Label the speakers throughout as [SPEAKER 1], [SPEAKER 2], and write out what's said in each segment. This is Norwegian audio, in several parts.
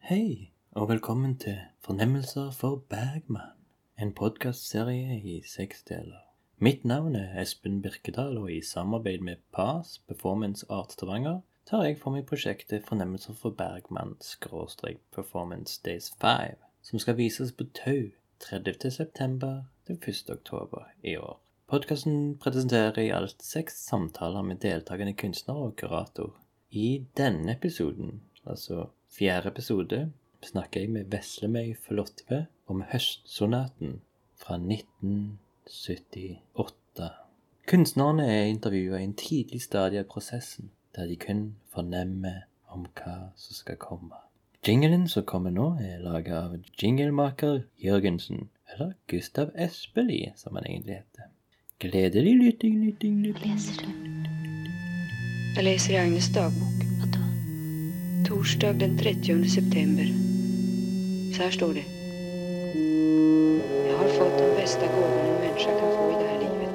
[SPEAKER 1] Hei, og velkommen til Fornemmelser for Bergman, en podkastserie i seks deler. Mitt navn er Espen Birkedal, og i samarbeid med PAS, Performance Art Stavanger, tar jeg for meg prosjektet Fornemmelser for Bergman skråstrek Performance Days 5, som skal vises på Tau 30.9. til 1.10. i år. Podkasten presenterer i alt seks samtaler med deltakende kunstnere og kurator. I denne episoden, altså fjerde episode, snakker jeg med Veslemøy Flottve om Høstsonaten fra 1978. Kunstnerne er intervjua i en tidlig stadie av prosessen, der de kun fornemmer om hva som skal komme. Jinglen som kommer nå, er laga av jinglemaker Jørgensen, eller Gustav Espelid, som han egentlig heter. Gledelig lytting, lytting, lytting.
[SPEAKER 2] Leser du?
[SPEAKER 3] Jeg leser i Agnes dagbok.
[SPEAKER 2] Hva da?
[SPEAKER 3] Torsdag den 30. september. Så her står det. Jeg har fått den bästa gåvan en människa kan få i det här livet.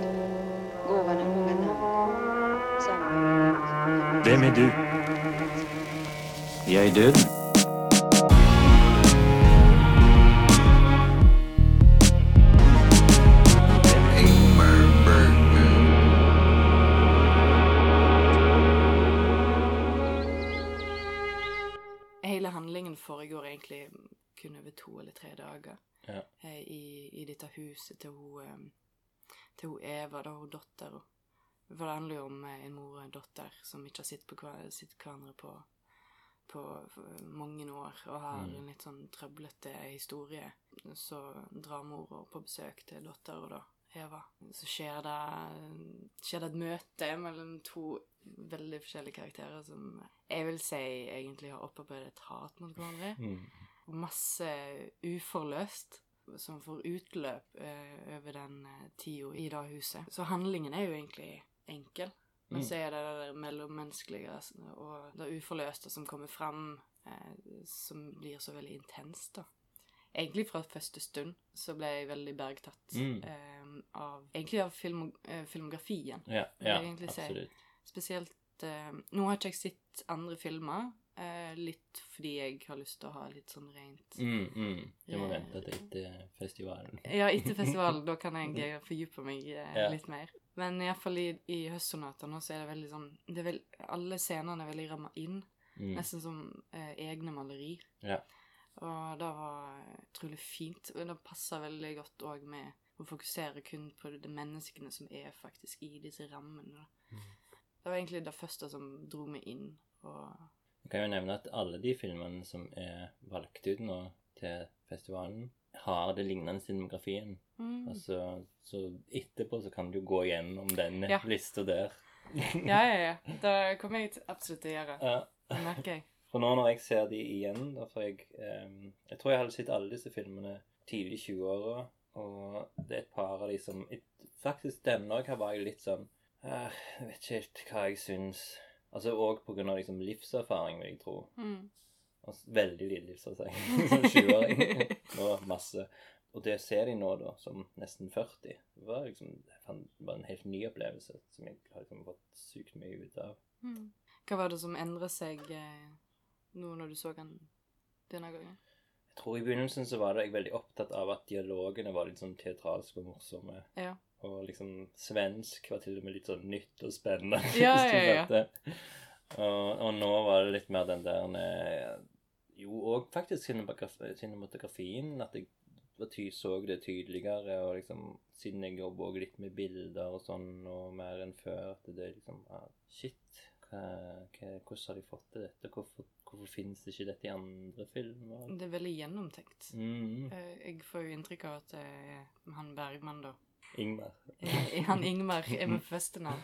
[SPEAKER 3] Gåvan har många namn. Samma-
[SPEAKER 4] Hvem er du? Jeg er død.
[SPEAKER 5] Hele handlingen foregår egentlig kun over to eller tre dager
[SPEAKER 1] Ja.
[SPEAKER 5] eh, i, i dette huset til hun, eh, til hun Eva, da hun dattera. For det handler jo om eh, en mor og en datter som ikke har sett på hver, sett hverandre på, på eh, mange år, og har
[SPEAKER 1] Mm.
[SPEAKER 5] en litt sånn trøblete historie. Så drar mora på besøk til dattera, da, Eva. Så skjer det, skjer det et møte mellom to veldig forskjellige karakterer som jeg vil si egentlig har opparbeidet et hat mot hverandre
[SPEAKER 1] Mm.
[SPEAKER 5] masse uforløst som får utløp eh, over den eh, tida i det huset. Så handlingen er jo egentlig enkel. Men
[SPEAKER 1] Mm.
[SPEAKER 5] så er det det der mellommenneskelige s- og det uforløste som kommer fram, eh, som blir så veldig intenst, da. Egentlig fra første stund så ble jeg veldig bergtatt
[SPEAKER 1] Mm.
[SPEAKER 5] eh, av Egentlig av filmo, eh, filmografien.
[SPEAKER 1] Ja,
[SPEAKER 5] Vil
[SPEAKER 1] ja,
[SPEAKER 5] jeg egentlig si.
[SPEAKER 1] absolutt.
[SPEAKER 5] Spesielt eh, Nå har ikke jeg sett andre filmer. Eh, litt fordi jeg har lyst til å ha litt sånn rent
[SPEAKER 1] Mm, mm. Du må
[SPEAKER 5] Eh.
[SPEAKER 1] vente til etter festivalen.
[SPEAKER 5] Ja, etter festivalen. Da kan jeg eh, fordype meg eh,
[SPEAKER 1] Ja.
[SPEAKER 5] litt mer. Men iallfall i, i høstsonatene så er det veldig sånn det er vel, Alle scenene er veldig ramma inn.
[SPEAKER 1] Mm.
[SPEAKER 5] Nesten som eh, egne maleri.
[SPEAKER 1] Ja.
[SPEAKER 5] Og det var utrolig fint. Og det passer veldig godt òg med å fokusere kun på de menneskene som er faktisk i disse rammene. da.
[SPEAKER 1] Mm.
[SPEAKER 5] Det var egentlig det første som dro meg inn. og...
[SPEAKER 1] Jeg kan jo nevne at alle de filmene som er valgt ut nå til festivalen, har det lignende cinemografien.
[SPEAKER 5] Mm.
[SPEAKER 1] Altså, så etterpå så kan du gå gjennom den
[SPEAKER 5] Ja.
[SPEAKER 1] lista der.
[SPEAKER 5] Ja, ja, ja. Det kommer jeg til- absolutt til å gjøre.
[SPEAKER 1] Ja.
[SPEAKER 5] Det merker jeg.
[SPEAKER 1] For nå når jeg ser de igjen, da får jeg ehm, Jeg tror jeg hadde sett alle disse filmene tidlig i 20-åra, og det er et par av de som et- Faktisk denne òg var jeg litt sånn «Ah, Jeg vet ikke helt hva jeg syns. Altså òg pga. liksom livserfaring, vil jeg tro.
[SPEAKER 5] Mm.
[SPEAKER 1] Og s- veldig lite livserfaring som 20-åring. Og masse. Og det ser de nå, da, som nesten 40. Det var liksom jeg fant- det var en helt ny opplevelse som jeg har liksom fått sykt mye ut av.
[SPEAKER 5] Mm. Hva var det som endret seg eh, nå når du så den denne gangen?
[SPEAKER 1] Jeg tror I begynnelsen så var det jeg veldig opptatt av at dialogene var litt sånn teatralske og morsomme.
[SPEAKER 5] Ja.
[SPEAKER 1] Og liksom svensk var til og med litt sånn nytt og spennende.
[SPEAKER 5] Ja,
[SPEAKER 1] hvis du
[SPEAKER 5] ja, ja.
[SPEAKER 1] fatter. Og, og nå var det litt mer den der eh, Jo, og faktisk cinematografi- cinematografien. At jeg var ty så det tydeligere. Og liksom, siden jeg jobber også litt med bilder og sånn, og mer enn før, at det er liksom ah, Shit, hva, hva, hvordan har de fått til dette? Hvorfor, hvorfor finnes det ikke dette i andre filmer?
[SPEAKER 5] Det er veldig gjennomtenkt.
[SPEAKER 1] Mm.
[SPEAKER 5] Eh, Jeg får jo inntrykk av at eh, han Bergman, da
[SPEAKER 1] Ingmar.
[SPEAKER 5] eh, Han Ingmar er med på festenavn.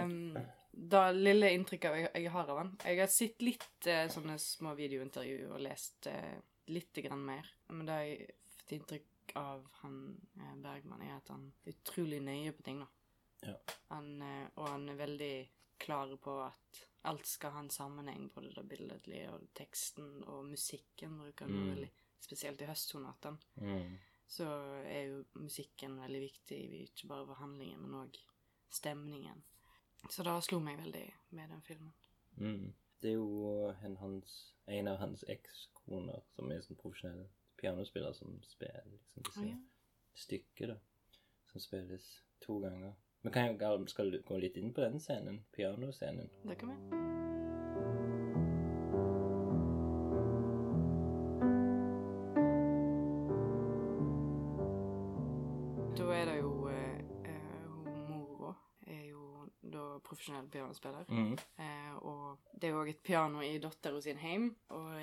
[SPEAKER 5] Um, da lille inntrykket jeg, jeg har av han Jeg har sett litt eh, sånne små videointervju og lest eh, litt grann mer. Men det jeg har fått inntrykk av han eh, Bergman, er at han er utrolig nøye på ting, da.
[SPEAKER 1] Ja.
[SPEAKER 5] Han, eh, og han er veldig klar på at alt skal ha en sammenheng, både det billedlige og teksten og musikken bruker han
[SPEAKER 1] Mm.
[SPEAKER 5] veldig, spesielt i høstsonaten
[SPEAKER 1] Mm.
[SPEAKER 5] så er jo musikken veldig viktig, ikke bare for handlingen, men òg stemningen. Så det slo meg veldig med den filmen.
[SPEAKER 1] Mm. Det er jo en, hans, en av hans ekskoner som er sånn profesjonell pianospiller som spiller liksom disse
[SPEAKER 5] Å, ja.
[SPEAKER 1] stykker, da. Som spilles to ganger. Vi kan jo gal- skal du gå litt inn på den scenen, pianoscenen.
[SPEAKER 5] Det kan vi. Da er det jo eh, eh, hun mora er jo da profesjonell pianospiller.
[SPEAKER 1] Mm.
[SPEAKER 5] Eh, og det er jo òg et piano i datteren sin heim, og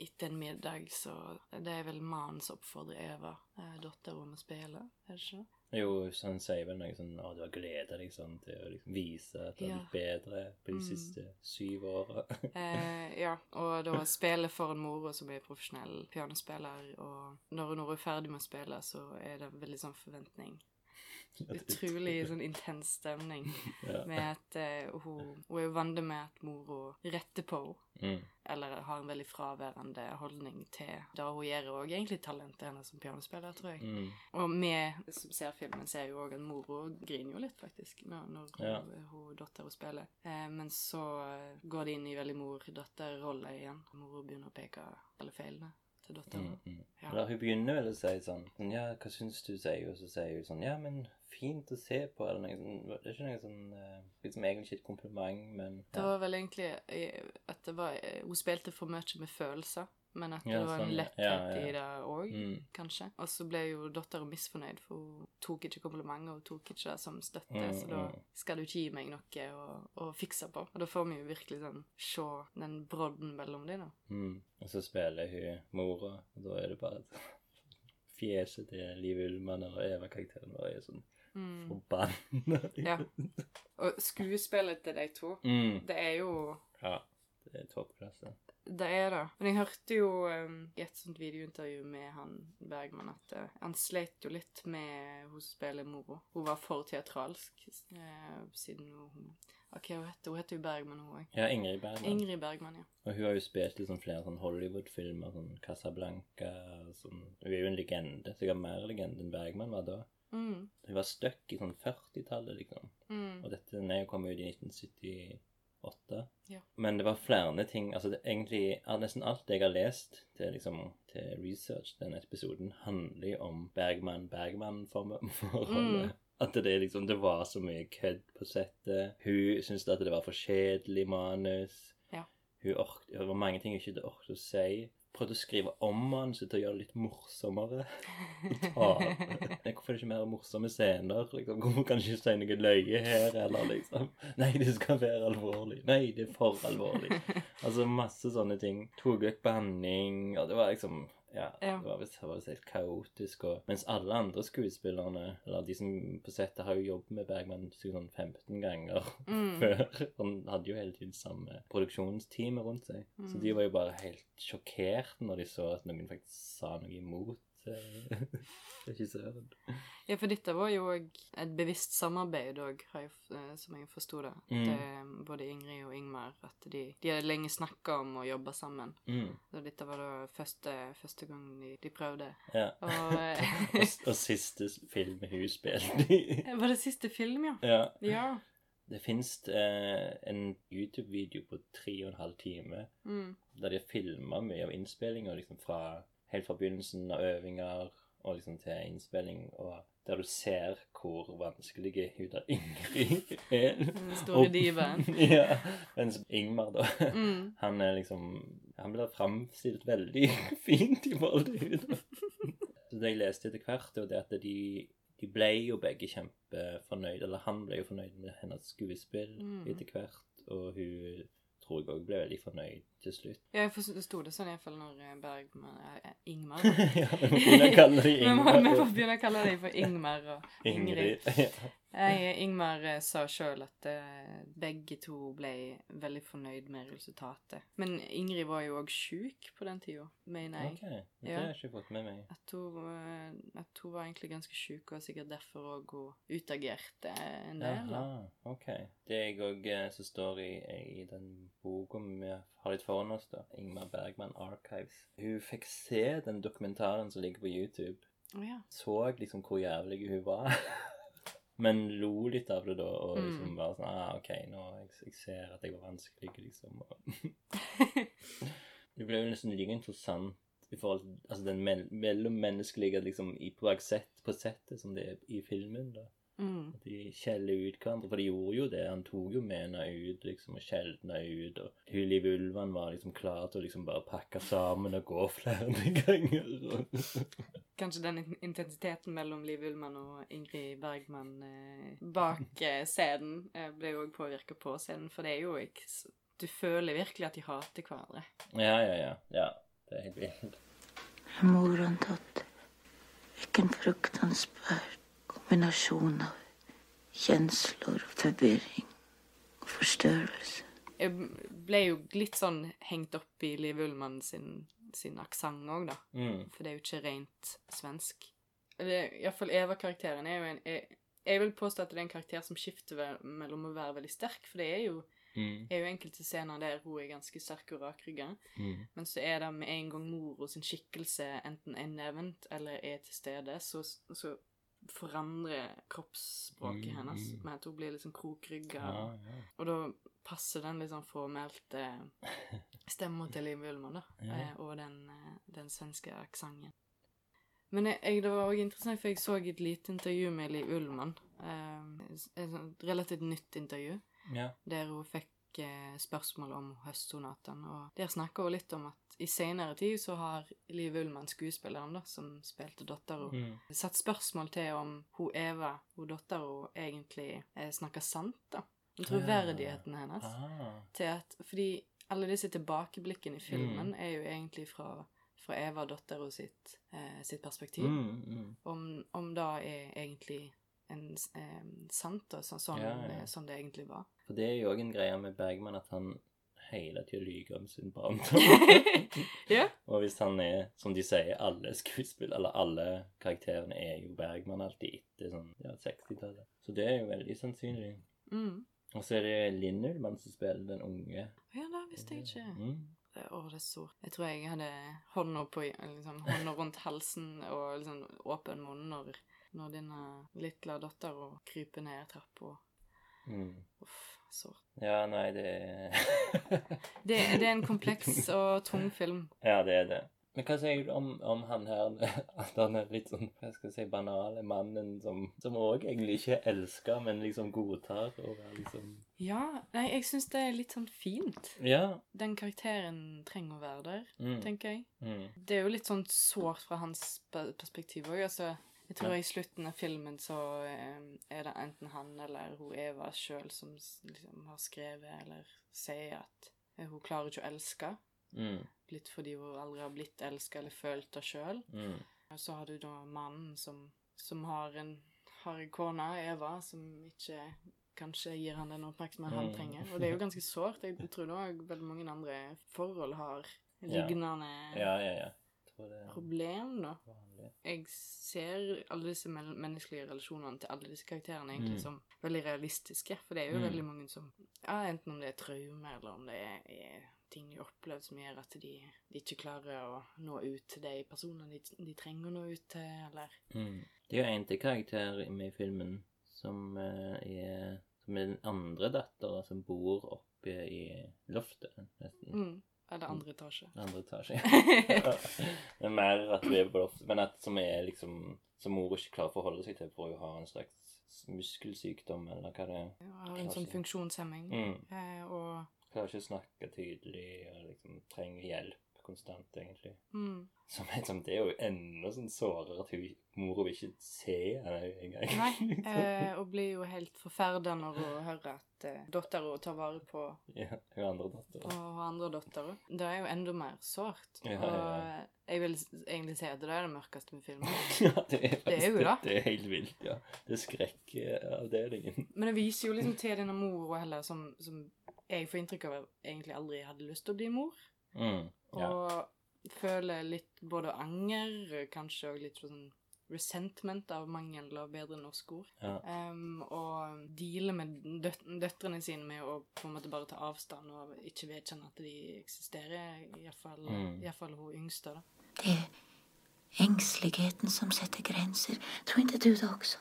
[SPEAKER 5] etter en middag så Det er vel mannen som oppfordrer Eva, eh, datteren, om å spille, er det ikke?
[SPEAKER 1] Jo, så han sier vel noe sånn Å, du har gleda deg sånn til å liksom vise at du har
[SPEAKER 5] Ja.
[SPEAKER 1] blitt bedre på de
[SPEAKER 5] Mm.
[SPEAKER 1] siste syv åra.
[SPEAKER 5] Eh, ja, og da spille for en mor som er profesjonell pianospiller, og når hun nå er ferdig med å spille, så er det veldig sånn forventning. Utrolig sånn intens stemning
[SPEAKER 1] ja.
[SPEAKER 5] med at eh, hun, hun er jo vant med at mora retter på henne.
[SPEAKER 1] mm.
[SPEAKER 5] Eller har en veldig fraværende holdning til det hun gjør, og egentlig talentet hennes som pianospiller, tror jeg.
[SPEAKER 1] Mm.
[SPEAKER 5] Og vi som ser filmen, ser jo òg at mora griner jo litt, faktisk, når, når hun,
[SPEAKER 1] Ja.
[SPEAKER 5] hun datteren spiller. Eh, men så eh, går det inn i veldig mor-datter-rolle igjen. Mora begynner å peke alle feilene til datteren.
[SPEAKER 1] Mm, mm.
[SPEAKER 5] Ja.
[SPEAKER 1] Eller hun begynner vel å si sånn, sånn Ja, hva syns du, sier hun. Og så sier hun sånn Ja, men fint å se på. Eller noe sånn Det er ikke noe sånn eh, Liksom egentlig ikke et kompliment, men
[SPEAKER 5] Det
[SPEAKER 1] ja.
[SPEAKER 5] var vel egentlig eh, at det var, eh, hun spilte for mye med følelser, men at det
[SPEAKER 1] Ja,
[SPEAKER 5] var
[SPEAKER 1] sånn,
[SPEAKER 5] en
[SPEAKER 1] ja.
[SPEAKER 5] letthet
[SPEAKER 1] Ja, ja.
[SPEAKER 5] i det òg.
[SPEAKER 1] Mm,
[SPEAKER 5] Kanskje. Og så ble jo datteren misfornøyd, for hun tok ikke komplimenter. Hun tok ikke det som støtte,
[SPEAKER 1] Mm,
[SPEAKER 5] så da
[SPEAKER 1] mm.
[SPEAKER 5] skal du ikke gi meg noe å, å fikse på. Og da får vi jo virkelig sånn se den brodden mellom dem, da.
[SPEAKER 1] mm. Og så spiller hun mora, og da er det bare at Fjeset til Liv Ullmann og Eva-karakteren vår er sånn
[SPEAKER 5] Mm.
[SPEAKER 1] forbanna.
[SPEAKER 5] Ja. Og skuespillet til de to,
[SPEAKER 1] Mm.
[SPEAKER 5] det er jo
[SPEAKER 1] Ja. Det er toppklasse.
[SPEAKER 5] Det er det. Men jeg hørte jo eh, i et sånt videointervju med han Bergman at eh, han sleit jo litt med hun som spiller moro. Hun var for teatralsk eh, siden hun OK, hun heter, hun heter jo Bergman, hun òg.
[SPEAKER 1] Ja, Ingrid Bergman.
[SPEAKER 5] Ingrid Bergman, ja.
[SPEAKER 1] Og hun har jo spilt i sånn flere sånn Hollywood-filmer, sånn Casablanca og sånn. Hun er jo en legende. Sikkert mer legende enn Bergman var da.
[SPEAKER 5] Mm.
[SPEAKER 1] Hun var stuck i sånn 40-tallet, liksom.
[SPEAKER 5] Mm.
[SPEAKER 1] Og dette den er jo kommet ut i 1978.
[SPEAKER 5] Ja.
[SPEAKER 1] Men det var flere ting altså det, Egentlig ja, nesten alt jeg har lest til, liksom, til research til denne episoden, handler jo om Bergman-Bergman-forholdet.
[SPEAKER 5] Mm.
[SPEAKER 1] At det, er liksom, det var så mye kødd på settet. Hun syntes at det var for kjedelig manus.
[SPEAKER 5] Ja.
[SPEAKER 1] Hun ork, det var mange ting hun ikke orket å si. Prøvde å skrive om manuset til å gjøre det litt morsommere. Ta Nei, Hvorfor er det ikke mer morsomme scener? Liksom, hvorfor kan jeg ikke si noe løye her, eller liksom? Nei, det skal være alvorlig. Nei, det er for alvorlig. Altså masse sånne ting. Tok vekk banning, og det var liksom ja,
[SPEAKER 5] Ja.
[SPEAKER 1] Det var visst det var visst helt kaotisk. Og, mens alle andre skuespillerne, eller de som på settet, har jo jobbet med Bergman sikkert sånn 15 ganger
[SPEAKER 5] Mm.
[SPEAKER 1] før. Han hadde jo hele tiden samme produksjonsteamet rundt seg. Så
[SPEAKER 5] Mm.
[SPEAKER 1] de var jo bare helt sjokkert når de så at noen faktisk sa noe imot eh, regissøren.
[SPEAKER 5] Ja, for dette var jo òg et bevisst samarbeid òg, har jeg f- eh, som jeg forsto det. At,
[SPEAKER 1] Mm.
[SPEAKER 5] eh, Både Ingrid og Ingmar. At de, de hadde lenge snakka om å jobbe sammen.
[SPEAKER 1] Mm,
[SPEAKER 5] Så dette var da første, første gang de, de prøvde.
[SPEAKER 1] ja.
[SPEAKER 5] Og eh,
[SPEAKER 1] Og, s- og siste s- film hun spilte i.
[SPEAKER 5] Var det siste film, ja?
[SPEAKER 1] ja.
[SPEAKER 5] Ja.
[SPEAKER 1] Det fins eh, en YouTube-video på tre og en halv time
[SPEAKER 5] Mm.
[SPEAKER 1] der de har filma mye av innspillinga liksom fra helt fra begynnelsen av øvinger og liksom til innspilling, og der du ser hvor vanskelige hun der Ingrid er.
[SPEAKER 5] Den store
[SPEAKER 1] Og-
[SPEAKER 5] divaen.
[SPEAKER 1] ja. Mens Ingmar, da
[SPEAKER 5] Mm.
[SPEAKER 1] Han er liksom Han blir framstilt veldig fint i forhold til henne. Så det jeg leste etter hvert, var det at de, de ble jo begge kjempefornøyd. Eller han ble jo fornøyd med hennes skuespill
[SPEAKER 5] Mm.
[SPEAKER 1] etter hvert. Og hun tror jeg òg ble veldig fornøyd til slutt.
[SPEAKER 5] Ja, jeg forsto det sånn iallfall når eh, Bergman eh, Ingmar.
[SPEAKER 1] ja, vi må begynne å kalle de
[SPEAKER 5] Vi må, vi
[SPEAKER 1] Ingmar
[SPEAKER 5] må
[SPEAKER 1] og
[SPEAKER 5] begynne å kalle dem for Ingmar og Ingrid.
[SPEAKER 1] Ingrid. Ja.
[SPEAKER 5] Jeg, Ingmar eh, sa sjøl at eh, begge to ble veldig fornøyd med resultatet. Men Ingrid var jo òg sjuk på den tida, mener jeg.
[SPEAKER 1] Ok, det
[SPEAKER 5] Ja.
[SPEAKER 1] har jeg ikke fått med meg.
[SPEAKER 5] At, hun, eh, at hun var egentlig ganske sjuk, og sikkert derfor òg hun utagerte en del. da.
[SPEAKER 1] Jaha, ok. Det er jeg òg som står i, i den boka vi har litt foran oss, da. Ingmar Bergman Archives. Hun fikk se den dokumentaren som ligger på YouTube.
[SPEAKER 5] Å ja.
[SPEAKER 1] Så liksom hvor jævlig hun var. Men lo litt av det da, og
[SPEAKER 5] Mm.
[SPEAKER 1] liksom bare sånn ah, OK, nå jeg, jeg ser at jeg var vanskelig, liksom. Og det ble jo nesten like interessant i forhold til altså, den mell mellommenneskelige liksom, i, på, sett, på settet som det er i filmen. da.
[SPEAKER 5] mm.
[SPEAKER 1] At de skjeller ut hverandre, for de gjorde jo det. Han tok jo med henne ut liksom, og skjelte henne ut. Og Huli Vulvan var liksom klar til å liksom bare pakke sammen og gå flere ganger. og-
[SPEAKER 5] Kanskje den in- intensiteten mellom Liv Ullmann og Ingrid Bergman eh, bak eh, scenen eh, ble jo òg påvirka på scenen, for det er jo ikke s- Du føler virkelig at de hater hverandre.
[SPEAKER 1] ja, ja, ja. ja. Det er helt vilt.
[SPEAKER 2] Mor og datter. Hvilken fruktansvær kombinasjon av kjensler, forvirring og forstørrelse.
[SPEAKER 5] Jeg ble jo litt sånn hengt opp i Liv Ullmann sin, sin aksent òg, da.
[SPEAKER 1] Mm.
[SPEAKER 5] For det er jo ikke rent svensk. Eller iallfall Eva-karakteren er jo en jeg, jeg vil påstå at det er en karakter som skifter vel- mellom å være veldig sterk, for det er jo,
[SPEAKER 1] Mm.
[SPEAKER 5] er jo enkelte scener der hun er ganske sterk og rakrygga,
[SPEAKER 1] Mm.
[SPEAKER 5] men så er det med en gang mora sin skikkelse enten er nevnt eller er til stede, så, så forandrer kroppsspråket
[SPEAKER 1] Mm,
[SPEAKER 5] hennes
[SPEAKER 1] mm.
[SPEAKER 5] med at hun blir liksom krokrygga.
[SPEAKER 1] Ja,
[SPEAKER 5] og-
[SPEAKER 1] ja.
[SPEAKER 5] Og da passer den liksom formelt eh, stemma til Liv Ullmann, da.
[SPEAKER 1] Ja.
[SPEAKER 5] eh, Og den, eh, den svenske aksenten. Men jeg, jeg, det var også interessant, for jeg så et lite intervju med Liv Ullmann. Eh, s- et sånt relativt nytt intervju,
[SPEAKER 1] ja.
[SPEAKER 5] der hun fikk eh, spørsmål om høstsonaten. Og der snakker hun litt om at i senere tid så har Liv Ullmann, skuespilleren da, som spilte dattera,
[SPEAKER 1] Mm.
[SPEAKER 5] satt spørsmål til om hun Eva, hun dattera, egentlig eh, snakker sant, da. Om troverdigheten hennes
[SPEAKER 1] Ah.
[SPEAKER 5] til at Fordi alle disse
[SPEAKER 1] Mm.
[SPEAKER 5] tilbakeblikkene i filmen er jo egentlig fra, fra Eva, dattera sitt, eh, sitt perspektiv.
[SPEAKER 1] Mm, mm.
[SPEAKER 5] Om, om det er egentlig en, s- eh, sant, da, så, sånn,
[SPEAKER 1] Ja, ja.
[SPEAKER 5] Det, sånn det egentlig var.
[SPEAKER 1] For det er jo òg en greie med Bergman at han hele tida lyver om sin barndom.
[SPEAKER 5] ja.
[SPEAKER 1] Og hvis han er, som de sier, alle skuespill, eller alle karakterene er jo Bergman alltid etter sånn, ja, 60-tallet. Så det er jo veldig sannsynlig.
[SPEAKER 5] Mm.
[SPEAKER 1] Og så er det Linn Ullmann som spiller den unge.
[SPEAKER 5] ja, det visste jeg ikke.
[SPEAKER 1] Mm.
[SPEAKER 5] Det- Å, det er så Jeg tror jeg hadde hånda på liksom, hånda rundt halsen og liksom åpen munn når, når denne lille dattera kryper ned trappa.
[SPEAKER 1] Mm.
[SPEAKER 5] Uff, sårt.
[SPEAKER 1] Ja, nei, det er
[SPEAKER 5] Det, det er en kompleks og tung film.
[SPEAKER 1] Ja, det er det. Men hva sier du om, om han her At han er litt sånn hva skal jeg si, banale mannen som Som òg egentlig ikke elsker, men liksom godtar og er liksom
[SPEAKER 5] Ja, nei, jeg syns det er litt sånn fint.
[SPEAKER 1] Ja.
[SPEAKER 5] Den karakteren trenger å være der,
[SPEAKER 1] Mm.
[SPEAKER 5] tenker jeg.
[SPEAKER 1] Mm.
[SPEAKER 5] Det er jo litt sånn sårt fra hans pe- perspektiv òg. Altså, jeg tror i slutten av filmen så eh, er det enten han eller hun Eva sjøl som s- liksom har skrevet eller sier at eh, hun klarer ikke å elske.
[SPEAKER 1] Mm.
[SPEAKER 5] Litt fordi hun aldri har blitt elska eller følt det sjøl.
[SPEAKER 1] Mm.
[SPEAKER 5] Og så har du da mannen som, som har en har en kone, Eva, som ikke kanskje gir han den oppmerksomheten han
[SPEAKER 1] Mm.
[SPEAKER 5] trenger. Og det er jo ganske sårt. Jeg tror da veldig mange andre forhold har lignende
[SPEAKER 1] Ja, ja, ja. Jeg tror det er
[SPEAKER 5] problem, da.
[SPEAKER 1] vanlig.
[SPEAKER 5] Jeg ser alle disse mell- menneskelige relasjonene til alle disse karakterene egentlig
[SPEAKER 1] Mm.
[SPEAKER 5] som veldig realistiske, for det er jo
[SPEAKER 1] Mm.
[SPEAKER 5] veldig mange som ja, Enten om det er traume, eller om det er, er ting de har opplevd som gjør at de, de ikke klarer å nå ut til de personene de, de trenger å nå ut til, eller
[SPEAKER 1] Mm. Det er jo en til karakter med i filmen som eh, er Som er den andre datteren som bor oppe i loftet, nesten.
[SPEAKER 5] mm, Eller andre etasje.
[SPEAKER 1] Andre etasje. det er mer at vi er på loftet, men at som er liksom Som mor ikke klarer å forholde seg til, for hun har en slags muskelsykdom, eller hva det er.
[SPEAKER 5] Jeg har en sånn funksjonshemming.
[SPEAKER 1] Mm.
[SPEAKER 5] Eh, og
[SPEAKER 1] Klarer ikke å snakke tydelig og liksom trenger hjelp konstant, egentlig.
[SPEAKER 5] mm.
[SPEAKER 1] Som er, som det er jo enda sånn sårere at hun, mora vil ikke se henne engang.
[SPEAKER 5] Nei.
[SPEAKER 1] liksom.
[SPEAKER 5] Eh, og blir jo helt forferda når hun hører at eh, dattera tar vare på
[SPEAKER 1] Ja, hun andre datteren.
[SPEAKER 5] og andre datter. Det er jo enda mer sårt.
[SPEAKER 1] Ja, ja, ja.
[SPEAKER 5] Og jeg vil s- egentlig si at det er det mørkeste med filmen.
[SPEAKER 1] Ja, det er,
[SPEAKER 5] Det er jo
[SPEAKER 1] faktisk-
[SPEAKER 5] det.
[SPEAKER 1] Det er helt vilt, ja. Det er skrekkavdelingen.
[SPEAKER 5] Men det viser jo liksom til denne mora heller, som, som jeg får inntrykk av egentlig aldri hadde lyst til å bli mor.
[SPEAKER 1] Mm.
[SPEAKER 5] Og
[SPEAKER 1] Ja.
[SPEAKER 5] føler litt både anger, kanskje òg litt sånn resentment av mangel av bedre norske ord.
[SPEAKER 1] Ja.
[SPEAKER 5] Em, og dealer med døt døtrene sine med å på en måte bare ta avstand og ikke vedkjenne at de eksisterer, iallfall
[SPEAKER 1] Mm.
[SPEAKER 5] fall hun yngste, da.
[SPEAKER 2] Det er engsteligheten som setter grenser. Tror ikke du det også?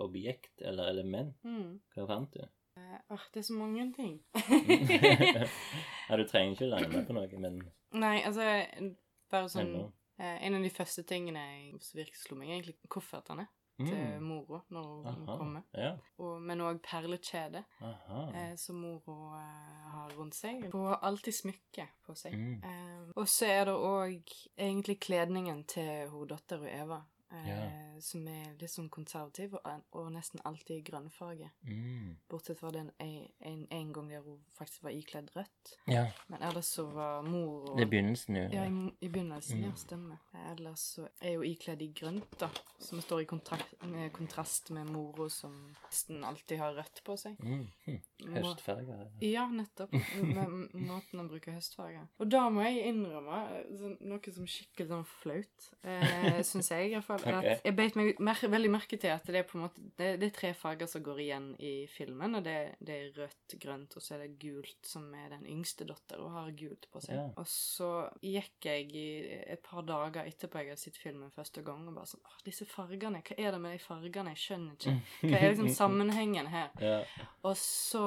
[SPEAKER 1] objekt eller element?
[SPEAKER 5] Mm.
[SPEAKER 1] Hva fant du?
[SPEAKER 5] Åh, det er så mange ting.
[SPEAKER 1] ja, du trenger ikke lande på noe, men
[SPEAKER 5] Nei, altså, bare sånn
[SPEAKER 1] ennå.
[SPEAKER 5] eh, En av de første tingene jeg- som virkelig slo meg, er egentlig koffertene til
[SPEAKER 1] Mm.
[SPEAKER 5] mora når hun
[SPEAKER 1] Aha.
[SPEAKER 5] kommer.
[SPEAKER 1] Ja.
[SPEAKER 5] Og, men òg perlekjedet
[SPEAKER 1] Aha.
[SPEAKER 5] eh, som mora eh, har rundt seg. Hun har alltid smykke på seg.
[SPEAKER 1] Mm.
[SPEAKER 5] Eh, og så er det òg egentlig kledningen til hun dattera Eva. Eh,
[SPEAKER 1] Ja.
[SPEAKER 5] Som er litt sånn konservativ og, og nesten alltid i grønnfarge.
[SPEAKER 1] Mm.
[SPEAKER 5] Bortsett fra den en, en, en gang der hun faktisk var ikledd rødt.
[SPEAKER 1] Ja,
[SPEAKER 5] Men ellers så var mor og
[SPEAKER 1] det er begynnelsen, jo.
[SPEAKER 5] ja, i, m- i begynnelsen,
[SPEAKER 1] Mm.
[SPEAKER 5] ja, stemmer. Ellers så er jo ikledd i grønt, da. Som står i kontrakt, med kontrast med mora som nesten alltid har rødt på seg.
[SPEAKER 1] Mm. Hm.
[SPEAKER 5] Må-
[SPEAKER 1] Høstfarger.
[SPEAKER 5] Ja, nettopp. Med m- måten å bruke høstfarger. Og da må jeg innrømme eh, sånn, noe som er skikkelig sånn flaut, eh, syns jeg i hvert fall. er
[SPEAKER 1] Ok.
[SPEAKER 5] At jeg beit meg mer, veldig merke til at det er på en måte det, det er tre farger som går igjen i filmen. Og det, det er rødt, grønt, og så er det gult, som er den yngste datter, og har gult på seg.
[SPEAKER 1] Ja.
[SPEAKER 5] Og så gikk jeg i et par dager etterpå jeg hadde sett filmen første gang, og bare sånn Åh, disse fargene. Hva er det med de fargene? Jeg skjønner ikke. Hva er liksom sammenhengen her?
[SPEAKER 1] Ja.
[SPEAKER 5] Og så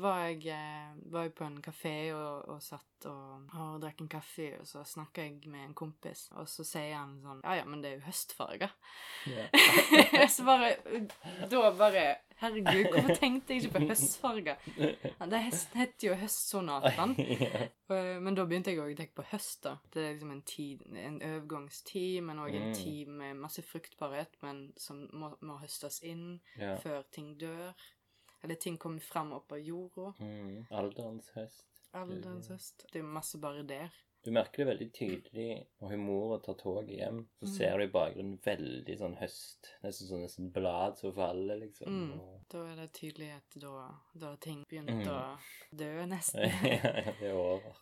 [SPEAKER 5] var jeg, eh, var jeg på en kafé og, og satt og, og drakk en kaffe, og så snakka jeg med en kompis, og så sier han sånn Ja, ja, men det er jo høstfarger.
[SPEAKER 1] Ja.
[SPEAKER 5] så bare Da bare Herregud, hvorfor tenkte jeg ikke på høstfarger? Ja, Det heter jo høstsonatene.
[SPEAKER 1] ja.
[SPEAKER 5] Eh, Men da begynte jeg også å tenke på høst, da. Det er liksom en tid, en overgangstid, men òg en
[SPEAKER 1] Mm.
[SPEAKER 5] tid med masse fruktbarhet, men som må, må høstes inn
[SPEAKER 1] ja.
[SPEAKER 5] før ting dør. Eller ting kommer fram opp av jorda.
[SPEAKER 1] Mm. Alderens høst.
[SPEAKER 5] Alderens høst. Det er jo masse bare der.
[SPEAKER 1] Du merker det veldig tydelig når hun mora tar toget hjem. Så
[SPEAKER 5] Mm.
[SPEAKER 1] ser du i bakgrunnen veldig sånn høst. Nesten sånn nesten blad som faller, liksom.
[SPEAKER 5] Mm.
[SPEAKER 1] Og-
[SPEAKER 5] Da er det tydelig at da, da har ting begynt å dø, nesten.
[SPEAKER 1] Mhm. ja, det er over.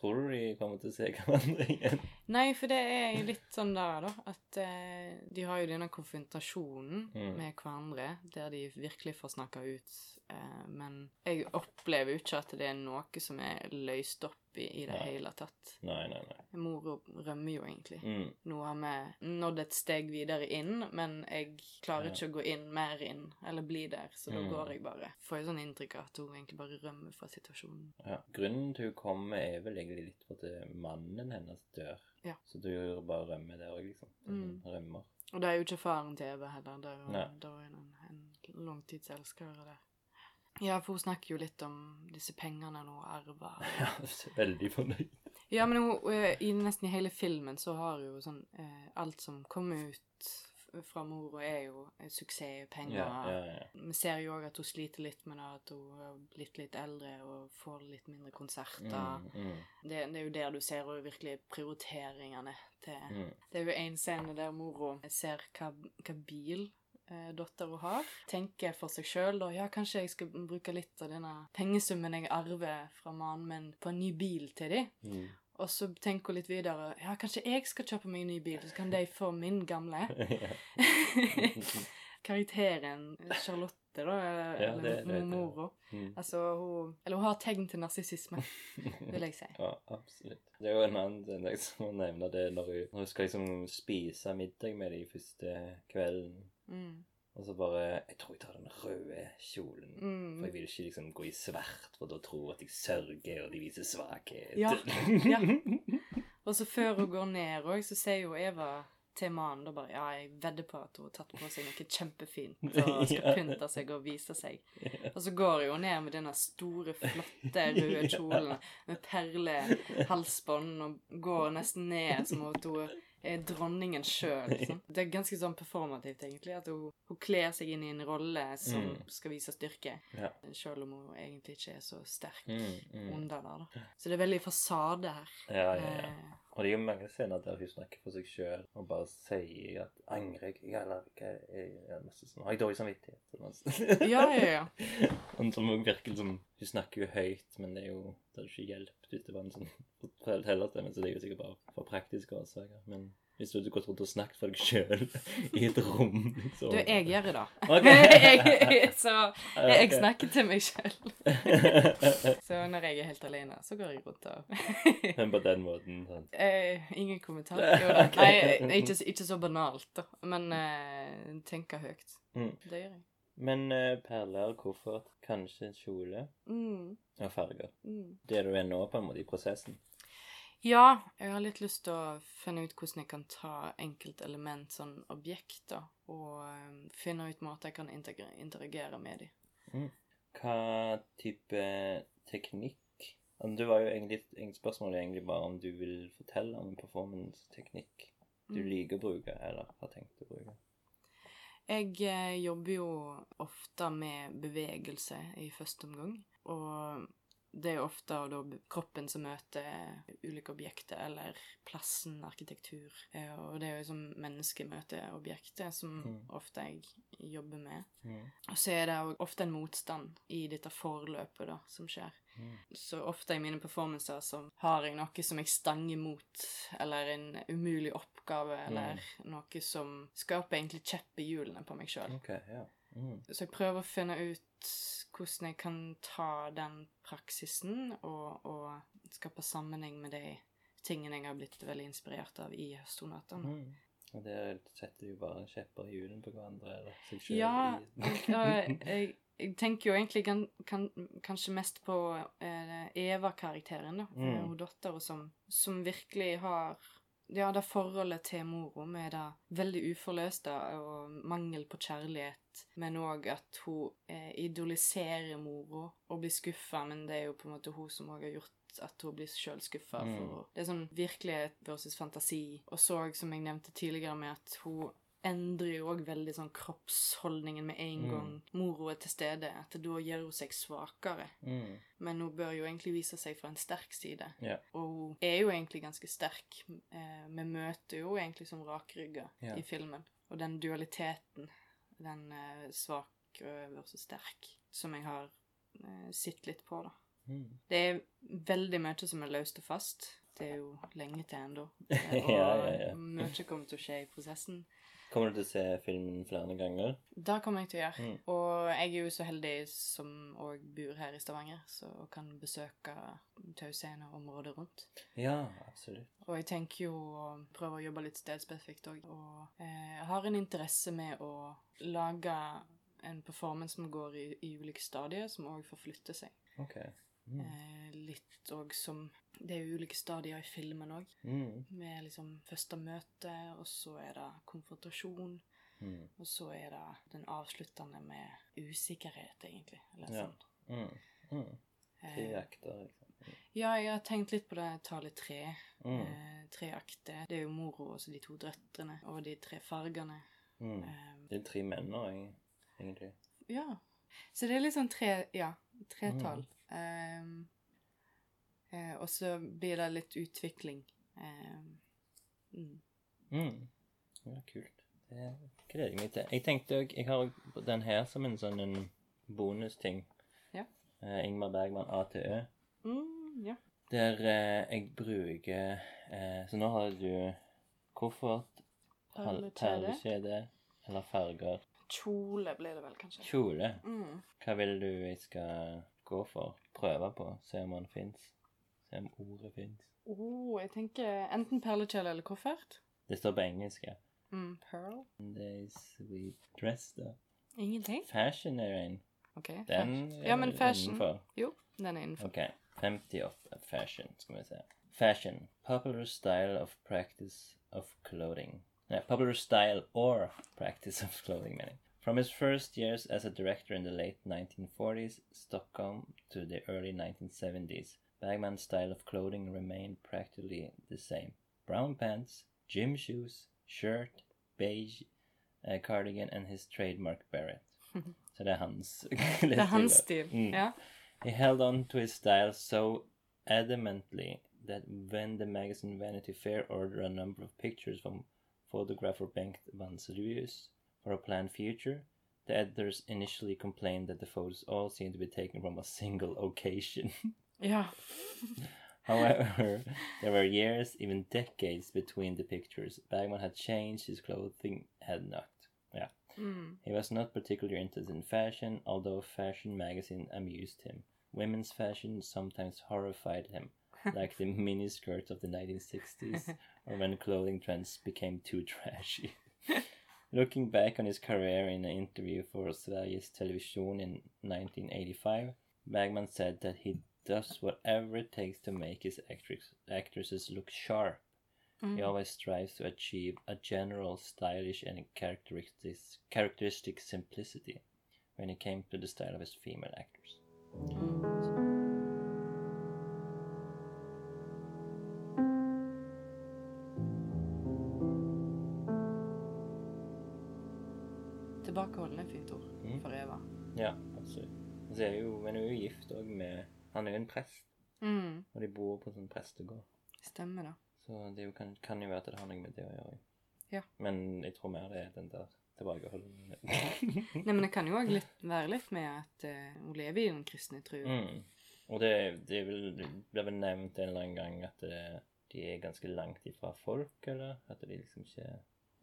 [SPEAKER 1] Tror du de kommer til å se hverandre igjen?
[SPEAKER 5] Nei, for det er jo litt sånn der, da, at eh, de har jo denne konfrontasjonen
[SPEAKER 1] Mm.
[SPEAKER 5] med hverandre, der de virkelig får snakka ut. Eh, men jeg opplever jo ikke at det er noe som er løst opp i, i det
[SPEAKER 1] Nei.
[SPEAKER 5] hele tatt.
[SPEAKER 1] Nei, nei, nei.
[SPEAKER 5] Mora rømmer jo egentlig.
[SPEAKER 1] Mm.
[SPEAKER 5] Nå har vi nådd et steg videre inn, men jeg klarer
[SPEAKER 1] Ja.
[SPEAKER 5] ikke å gå inn mer inn, eller bli der, så da
[SPEAKER 1] Mm.
[SPEAKER 5] går jeg bare. Får jo sånn inntrykk av at hun egentlig bare rømmer fra situasjonen.
[SPEAKER 1] Ja. Grunnen til hun kommer, er vel egentlig litt for at eh, mannen hennes dør.
[SPEAKER 5] Ja.
[SPEAKER 1] Så du bare rømmer der òg, liksom.
[SPEAKER 5] Mm.
[SPEAKER 1] Rømmer.
[SPEAKER 5] Og det er jo ikke faren til Eva heller, det er jo,
[SPEAKER 1] Nei.
[SPEAKER 5] det er jo en, en langtidselsker der. Ja, for hun snakker jo litt om disse pengene hun arver.
[SPEAKER 1] Ja, veldig fornøyd.
[SPEAKER 5] Ja, men hun, eh, i nesten i hele filmen så har jo sånn eh, Alt som kommer ut f- fra mora, er jo eh, suksess, penger
[SPEAKER 1] Ja, ja, ja.
[SPEAKER 5] Vi ser jo òg at hun sliter litt med det, at hun har blitt litt eldre og får litt mindre konserter.
[SPEAKER 1] Mm, mm,
[SPEAKER 5] Det, det er jo der du ser jo virkelig prioriteringene til
[SPEAKER 1] mm.
[SPEAKER 5] Det er jo en scene der mora ser hva, hva bil eh, dattera har. Tenker for seg sjøl da ja, kanskje jeg skal bruke litt av denne pengesummen jeg arver fra mannen min, på en ny bil til dem.
[SPEAKER 1] Mm.
[SPEAKER 5] Og så tenker hun litt videre ja, kanskje jeg skal kjøpe meg en ny bil, så kan de få min gamle.
[SPEAKER 1] ja.
[SPEAKER 5] Karakteren Charlotte, da, eller
[SPEAKER 1] Ja, det- det heter det.
[SPEAKER 5] mora
[SPEAKER 1] Mm.
[SPEAKER 5] Altså, hun Eller hun har tegn til narsissisme, vil jeg si.
[SPEAKER 1] Ja, absolutt. Det er jo en annen ting jeg skal nevne, det er når hun, når hun skal liksom spise middag med de første kvelden,
[SPEAKER 5] Mm.
[SPEAKER 1] og så bare Jeg tror jeg tar den røde kjolen. For jeg
[SPEAKER 5] Mm.
[SPEAKER 1] vil ikke liksom gå i svart, for da tror jeg at jeg sørger, og de viser svakhet.
[SPEAKER 5] Ja, ja. Og så før hun går ned òg, så sier jo Eva til mannen da bare Ja, jeg vedder på at hun har tatt på seg noe kjempefint og skal
[SPEAKER 1] Ja.
[SPEAKER 5] pynte seg og vise seg. Og så går hun ned med denne store, flotte røde kjolen med perlehalsbånd og går nesten ned som om hun er dronningen sjøl. Det er ganske sånn performativt, egentlig. At hun, hun kler seg inn i en rolle som
[SPEAKER 1] Mm.
[SPEAKER 5] skal vise styrke,
[SPEAKER 1] Ja.
[SPEAKER 5] sjøl om hun egentlig ikke er så sterk
[SPEAKER 1] Mm, mm.
[SPEAKER 5] under der, da. Så det er veldig fasade her.
[SPEAKER 1] ja, ja, ja.
[SPEAKER 5] Eh,
[SPEAKER 1] Og det er jo mange scener der hun snakker for seg sjøl og bare sier at angrer jeg, eller hva er masse sånn Har jeg dårlig samvittighet? eller noe sånt.
[SPEAKER 5] Ja, ja, ja.
[SPEAKER 1] Han som også virker som Hun snakker jo høyt, men det er jo det er jo ikke hjelp ute på en sånn fortellerstemme, så det er jo sikkert bare for praktiske årsaker. Men Hvis du hadde gått rundt og snakket for deg sjøl i et rom. Så.
[SPEAKER 5] Du, jeg gjør det, da.
[SPEAKER 1] Ok.
[SPEAKER 5] jeg, så jeg, jeg
[SPEAKER 1] Ok.
[SPEAKER 5] snakker til meg sjøl. Så når jeg er helt alene, så går jeg rundt og
[SPEAKER 1] Men på den måten. Sånn.
[SPEAKER 5] eh, Ingen kommentar. Jo da.
[SPEAKER 1] Ok.
[SPEAKER 5] Nei, eh, ikke, ikke så banalt, da. Men eh, tenker høyt.
[SPEAKER 1] Mm.
[SPEAKER 5] Det gjør jeg.
[SPEAKER 1] Men eh, perler, koffert, kanskje en kjole
[SPEAKER 5] Mm.
[SPEAKER 1] og farger.
[SPEAKER 5] Mm.
[SPEAKER 1] Det du er nå, på en måte, i prosessen.
[SPEAKER 5] Ja, jeg har litt lyst til å finne ut hvordan jeg kan ta enkeltelement, sånn objekt, da, og eh, finne ut måter jeg kan integre- interagere med dem.
[SPEAKER 1] Hva type teknikk Altså, Du var jo egentlig, egentlig Spørsmålet er egentlig bare om du vil fortelle om en performance-teknikk du
[SPEAKER 5] Mm.
[SPEAKER 1] liker å bruke, eller har tenkt å bruke.
[SPEAKER 5] Jeg eh, jobber jo ofte med bevegelse i første omgang, og det er jo ofte da kroppen som møter ulike objekter, eller plassen, arkitektur. eh, Og det er jo som menneskemøteobjektet som
[SPEAKER 1] Mm.
[SPEAKER 5] ofte jeg jobber med.
[SPEAKER 1] Mm.
[SPEAKER 5] Og så er det jo ofte en motstand i dette forløpet da, som skjer.
[SPEAKER 1] Mm.
[SPEAKER 5] Så ofte i mine performancer så har jeg noe som jeg stanger mot, eller en umulig oppgave, eller noe som skaper egentlig kjepp i hjulene på meg sjøl.
[SPEAKER 1] Ok, ja. Mm.
[SPEAKER 5] Så jeg prøver å finne ut hvordan jeg kan ta den praksisen og, og skape sammenheng med de tingene jeg har blitt veldig inspirert av i høsttonatene.
[SPEAKER 1] Mm. Og der setter jo bare kjepper i hjulene på hverandre, eller seg sjøl.
[SPEAKER 5] Ja,
[SPEAKER 1] i-
[SPEAKER 5] og jeg, jeg tenker jo egentlig kan, kan, kanskje mest på eh, Eva-karakteren, da.
[SPEAKER 1] Mm.
[SPEAKER 5] Eh, Hun datteren som, som virkelig har ja, det forholdet til mora med det veldig uforløste og mangel på kjærlighet, men òg at hun eh, idoliserer mora og blir skuffa, men det er jo på en måte hun som òg har gjort at hun blir sjøl skuffa.
[SPEAKER 1] Mm.
[SPEAKER 5] Det er sånn virkelighet versus fantasi. Og så, som jeg nevnte tidligere, med at hun endrer jo òg veldig sånn kroppsholdningen med en
[SPEAKER 1] Mm.
[SPEAKER 5] gang mora er til stede. At da gjør hun seg svakere.
[SPEAKER 1] Mm.
[SPEAKER 5] Men hun bør jo egentlig vise seg fra en sterk side.
[SPEAKER 1] Ja.
[SPEAKER 5] Og hun er jo egentlig ganske sterk. Eh, Vi møter jo egentlig som rakrygga
[SPEAKER 1] Ja.
[SPEAKER 5] i filmen. Og den dualiteten, den eh, svak eh, versus sterk, som jeg har eh, sett litt på, da.
[SPEAKER 1] Mm.
[SPEAKER 5] Det er veldig mye som er løst og fast. Det er jo lenge til ennå.
[SPEAKER 1] Ja, ja, ja.
[SPEAKER 5] Og mye kommer til å skje i prosessen.
[SPEAKER 1] Kommer du til å se filmen flere ganger?
[SPEAKER 5] Det kommer jeg til å gjøre.
[SPEAKER 1] Mm.
[SPEAKER 5] Og jeg er jo så heldig som òg bor her i Stavanger, så og kan besøke Tauseen og området rundt.
[SPEAKER 1] Ja, absolutt.
[SPEAKER 5] Og jeg tenker jo å prøve å jobbe litt stedspesifikt òg. Og eh, har en interesse med å lage en performance som går i, i ulike stadier, som òg forflytter seg.
[SPEAKER 1] Ok. Mm.
[SPEAKER 5] Eh, litt òg som Det er jo ulike stadier i filmen òg.
[SPEAKER 1] Mm.
[SPEAKER 5] Med liksom første møte, og så er det konfrontasjon,
[SPEAKER 1] Mm.
[SPEAKER 5] og så er det den avsluttende med usikkerhet, egentlig. Eller
[SPEAKER 1] Ja.
[SPEAKER 5] sånn.
[SPEAKER 1] Mm. Mm. Tre
[SPEAKER 5] Eh,
[SPEAKER 1] akter, liksom.
[SPEAKER 5] ja, jeg har tenkt litt på det tallet tre.
[SPEAKER 1] Mm.
[SPEAKER 5] Eh, tre akter. Det er jo mora og så de to døtrene og de tre fargene.
[SPEAKER 1] Mm.
[SPEAKER 5] Eh,
[SPEAKER 1] Det er tre menn nå, eg- egentlig.
[SPEAKER 5] ja. Så det er litt sånn tre Ja, tretall.
[SPEAKER 1] Mm.
[SPEAKER 5] Eh, eh, og så blir det litt utvikling. Eh, mm.
[SPEAKER 1] Mm. Ja, kult. Det gleder jeg meg til. Jeg tenkte òg Jeg har også den her som en sånn en bonusting.
[SPEAKER 5] Ja.
[SPEAKER 1] Eh, Ingmar Bergman ATØ.
[SPEAKER 5] Mm, ja.
[SPEAKER 1] Der eh, jeg bruker eh, Så nå har du koffert, hal-
[SPEAKER 5] Perlekjede.
[SPEAKER 1] perlekjede eller farger.
[SPEAKER 5] Kjole ble det vel, kanskje.
[SPEAKER 1] Kjole.
[SPEAKER 5] Mm.
[SPEAKER 1] Hva vil du jeg skal gå for? Prøve på? Se om den fins? Se om ordet fins?
[SPEAKER 5] Oh, jeg tenker enten perlekjele eller koffert.
[SPEAKER 1] Det står på engelsk. ja.
[SPEAKER 5] Mm, pearl.
[SPEAKER 1] Days we dress, da.
[SPEAKER 5] Ingenting.
[SPEAKER 1] Fashion er en.
[SPEAKER 5] Ok.
[SPEAKER 1] Den
[SPEAKER 5] fashion.
[SPEAKER 1] er
[SPEAKER 5] Ja, men fashion.
[SPEAKER 1] innenfor.
[SPEAKER 5] Jo, den er innenfor.
[SPEAKER 1] Ok, 58 uh, fashion, skal vi se. Fashion. Popular style of practice of clothing. No, popular style or practice of clothing, meaning. From his first years as a director in the late 1940s, Stockholm, to the early 1970s, Bagman's style of clothing remained practically the same. Brown pants, gym shoes, shirt, beige uh, cardigan, and his trademark beret. Så det er hans
[SPEAKER 5] Det er hans
[SPEAKER 1] klesstil,
[SPEAKER 5] stil.
[SPEAKER 1] da. Mm.
[SPEAKER 5] Ja.
[SPEAKER 1] He held on to his style so adamantly that when the magazine Vanity Fair ordered a number of pictures from photographer Bengt Vanselius for a planned future, the editors initially complained that the photos all seemed to be taken from a single occasion.
[SPEAKER 5] ja.
[SPEAKER 1] However, there were years, even decades, between the pictures. Bergman had changed, his clothing had not. Yeah.
[SPEAKER 5] Mm.
[SPEAKER 1] He was not particularly interested in fashion, although fashion magazine amused him. Women's fashion sometimes horrified him, like the miniskirts of the 1960s, or when clothing trends became too trashy. Looking back on his career in an interview for Sveriges Television in 1985, Bergman said that he does whatever it takes to make his actress, actresses look sharp. He always strives to achieve a general stylish and characteristic, characteristic simplicity when it came to the style of his female actors.
[SPEAKER 5] Tilbakeholden er et fint ord
[SPEAKER 1] Mm.
[SPEAKER 5] for Eva.
[SPEAKER 1] Ja, absolutt. Og så er jo, men hun er jo gift òg med Han er jo en prest,
[SPEAKER 5] Mm.
[SPEAKER 1] og de bor på en sånn prestegård.
[SPEAKER 5] Stemmer det.
[SPEAKER 1] Så det er jo, kan, kan jo være at det har noe med det å gjøre.
[SPEAKER 5] Ja.
[SPEAKER 1] Men jeg tror mer det er den der tilbakeholden Mm.
[SPEAKER 5] Nei, men det kan jo òg være litt med at eh, hun lever i den kristne tro.
[SPEAKER 1] mm. Og det, det, er vel, det ble vel nevnt en eller annen gang at det, de er ganske langt ifra folk, eller? At de liksom ikke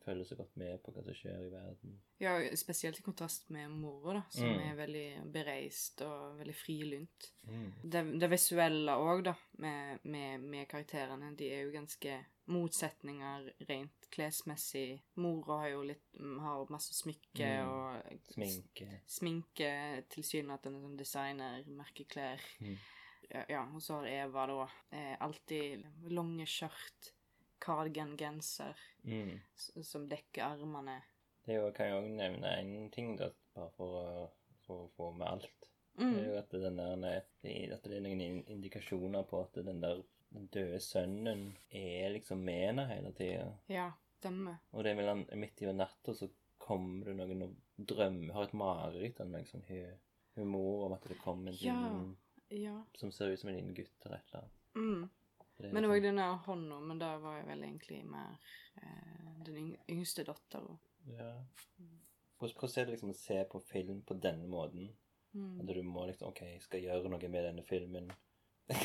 [SPEAKER 1] følger så godt med på hva som skjer i verden.
[SPEAKER 5] Ja, spesielt i kontrast med mora, da, som
[SPEAKER 1] Mm.
[SPEAKER 5] er veldig bereist og veldig frilynt.
[SPEAKER 1] Mm.
[SPEAKER 5] Det, det visuelle òg, da, med, med, med karakterene. De er jo ganske motsetninger rent klesmessig. Mora har jo litt mm, har masse smykke
[SPEAKER 1] Mm.
[SPEAKER 5] og
[SPEAKER 1] Sminke.
[SPEAKER 5] sminke, tilsynelatende som designer, merkeklær.
[SPEAKER 1] Mm.
[SPEAKER 5] Ja, ja, og så har Eva da eh, alltid lange skjørt, cardigan-genser
[SPEAKER 1] Mm.
[SPEAKER 5] s- som dekker armene.
[SPEAKER 1] Det er jo, kan jeg òg nevne én ting, da, bare for å, for å få med alt. Det er
[SPEAKER 5] Mm.
[SPEAKER 1] jo at, den der, eh, det- at det er noen in- indikasjoner på at den der den døde sønnen er liksom med henne hele tida.
[SPEAKER 5] Ja, stemmer.
[SPEAKER 1] Og det er vel han, midt i natta så kommer det noen og drømmer Har et mareritt om liksom, hu- humor om at det kommer en
[SPEAKER 5] Ja.
[SPEAKER 1] liten
[SPEAKER 5] Ja.
[SPEAKER 1] som ser ut som en liten gutt eller et eller annet.
[SPEAKER 5] Mm.
[SPEAKER 1] Det er
[SPEAKER 5] Men
[SPEAKER 1] liksom-
[SPEAKER 5] òg den der hånda, men da var jeg vel egentlig mer eh, den yng- yngste dattera.
[SPEAKER 1] ja. Hvordan hvordan er det liksom å se på film på denne måten?
[SPEAKER 5] Mm.
[SPEAKER 1] At du må liksom OK, jeg skal gjøre noe med denne filmen.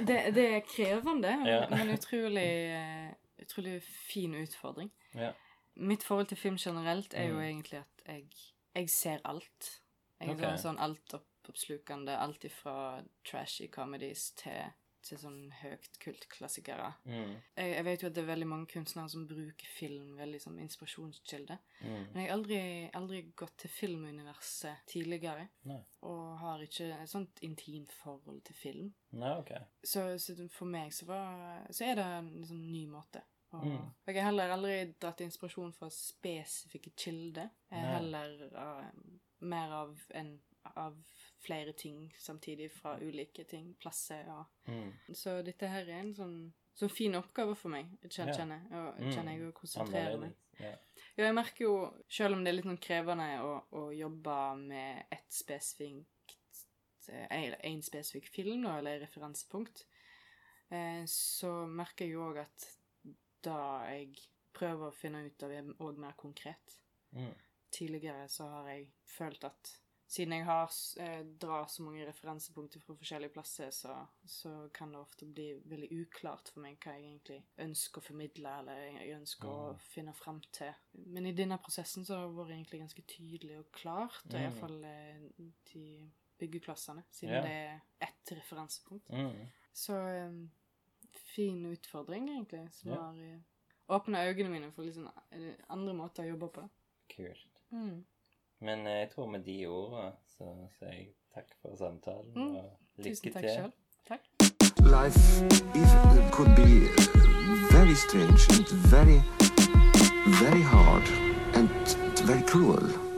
[SPEAKER 5] Det, det er krevende,
[SPEAKER 1] Ja.
[SPEAKER 5] men utrolig, eh, utrolig fin utfordring.
[SPEAKER 1] Ja.
[SPEAKER 5] Mitt forhold til film generelt er jo
[SPEAKER 1] Mm.
[SPEAKER 5] egentlig at jeg, jeg ser alt. Jeg er
[SPEAKER 1] Ok.
[SPEAKER 5] sånn, sånn altoppslukende. Alt ifra trashy comedies til, til sånn høyt kultklassikere.
[SPEAKER 1] Mm.
[SPEAKER 5] Jeg, jeg vet jo at det er veldig mange kunstnere som bruker film veldig som inspirasjonskilde.
[SPEAKER 1] Mm.
[SPEAKER 5] Men jeg har aldri, aldri gått til filmuniverset tidligere.
[SPEAKER 1] Nei.
[SPEAKER 5] Og har ikke et sånt intimt forhold til film.
[SPEAKER 1] Nei, OK.
[SPEAKER 5] Så, så for meg så, var, så er det en liksom ny måte. Og
[SPEAKER 1] Mm.
[SPEAKER 5] Jeg har heller aldri dratt inspirasjon fra spesifikke kilder. Jeg
[SPEAKER 1] Nei.
[SPEAKER 5] er heller eh, mer av, en, av flere ting samtidig fra ulike ting, plasser og
[SPEAKER 1] Mm.
[SPEAKER 5] Så dette her er en sånn, sånn fin oppgave for meg, kjenner,
[SPEAKER 1] Ja.
[SPEAKER 5] kjenner, og,
[SPEAKER 1] Mm.
[SPEAKER 5] kjenner jeg å konsentrere meg.
[SPEAKER 1] Ja.
[SPEAKER 5] Ja, jeg merker jo, selv om det er litt sånn krevende å, å jobbe med et spesifikt eh, en spesifikk film da, eller referansepunkt, eh, så merker jeg jo òg at da jeg prøver å finne ut av det òg mer konkret
[SPEAKER 1] Mm.
[SPEAKER 5] Tidligere så har jeg følt at siden jeg har s- eh, drar så mange referansepunkter fra forskjellige plasser, så, så kan det ofte bli veldig uklart for meg hva jeg egentlig ønsker å formidle, eller jeg ønsker å
[SPEAKER 1] Mm.
[SPEAKER 5] finne fram til. Men i denne prosessen så har det vært egentlig ganske tydelig og klart, og
[SPEAKER 1] Mm.
[SPEAKER 5] iallfall eh, de byggeklassene, siden
[SPEAKER 1] Ja.
[SPEAKER 5] det er ett referansepunkt.
[SPEAKER 1] Mm.
[SPEAKER 5] Så eh, fin utfordring, egentlig, som
[SPEAKER 1] Ja.
[SPEAKER 5] har eh, åpna øynene mine for litt sånn eh, andre måter å jobbe på. da.
[SPEAKER 1] Kult. Men eh, jeg tror med de ordene så sier jeg takk for samtalen,
[SPEAKER 5] Mm.
[SPEAKER 1] og lykke
[SPEAKER 5] Tusen takk
[SPEAKER 1] til.
[SPEAKER 5] sjøl. Takk.
[SPEAKER 4] Life is, could be uh, very strange and very, very hard and very cruel.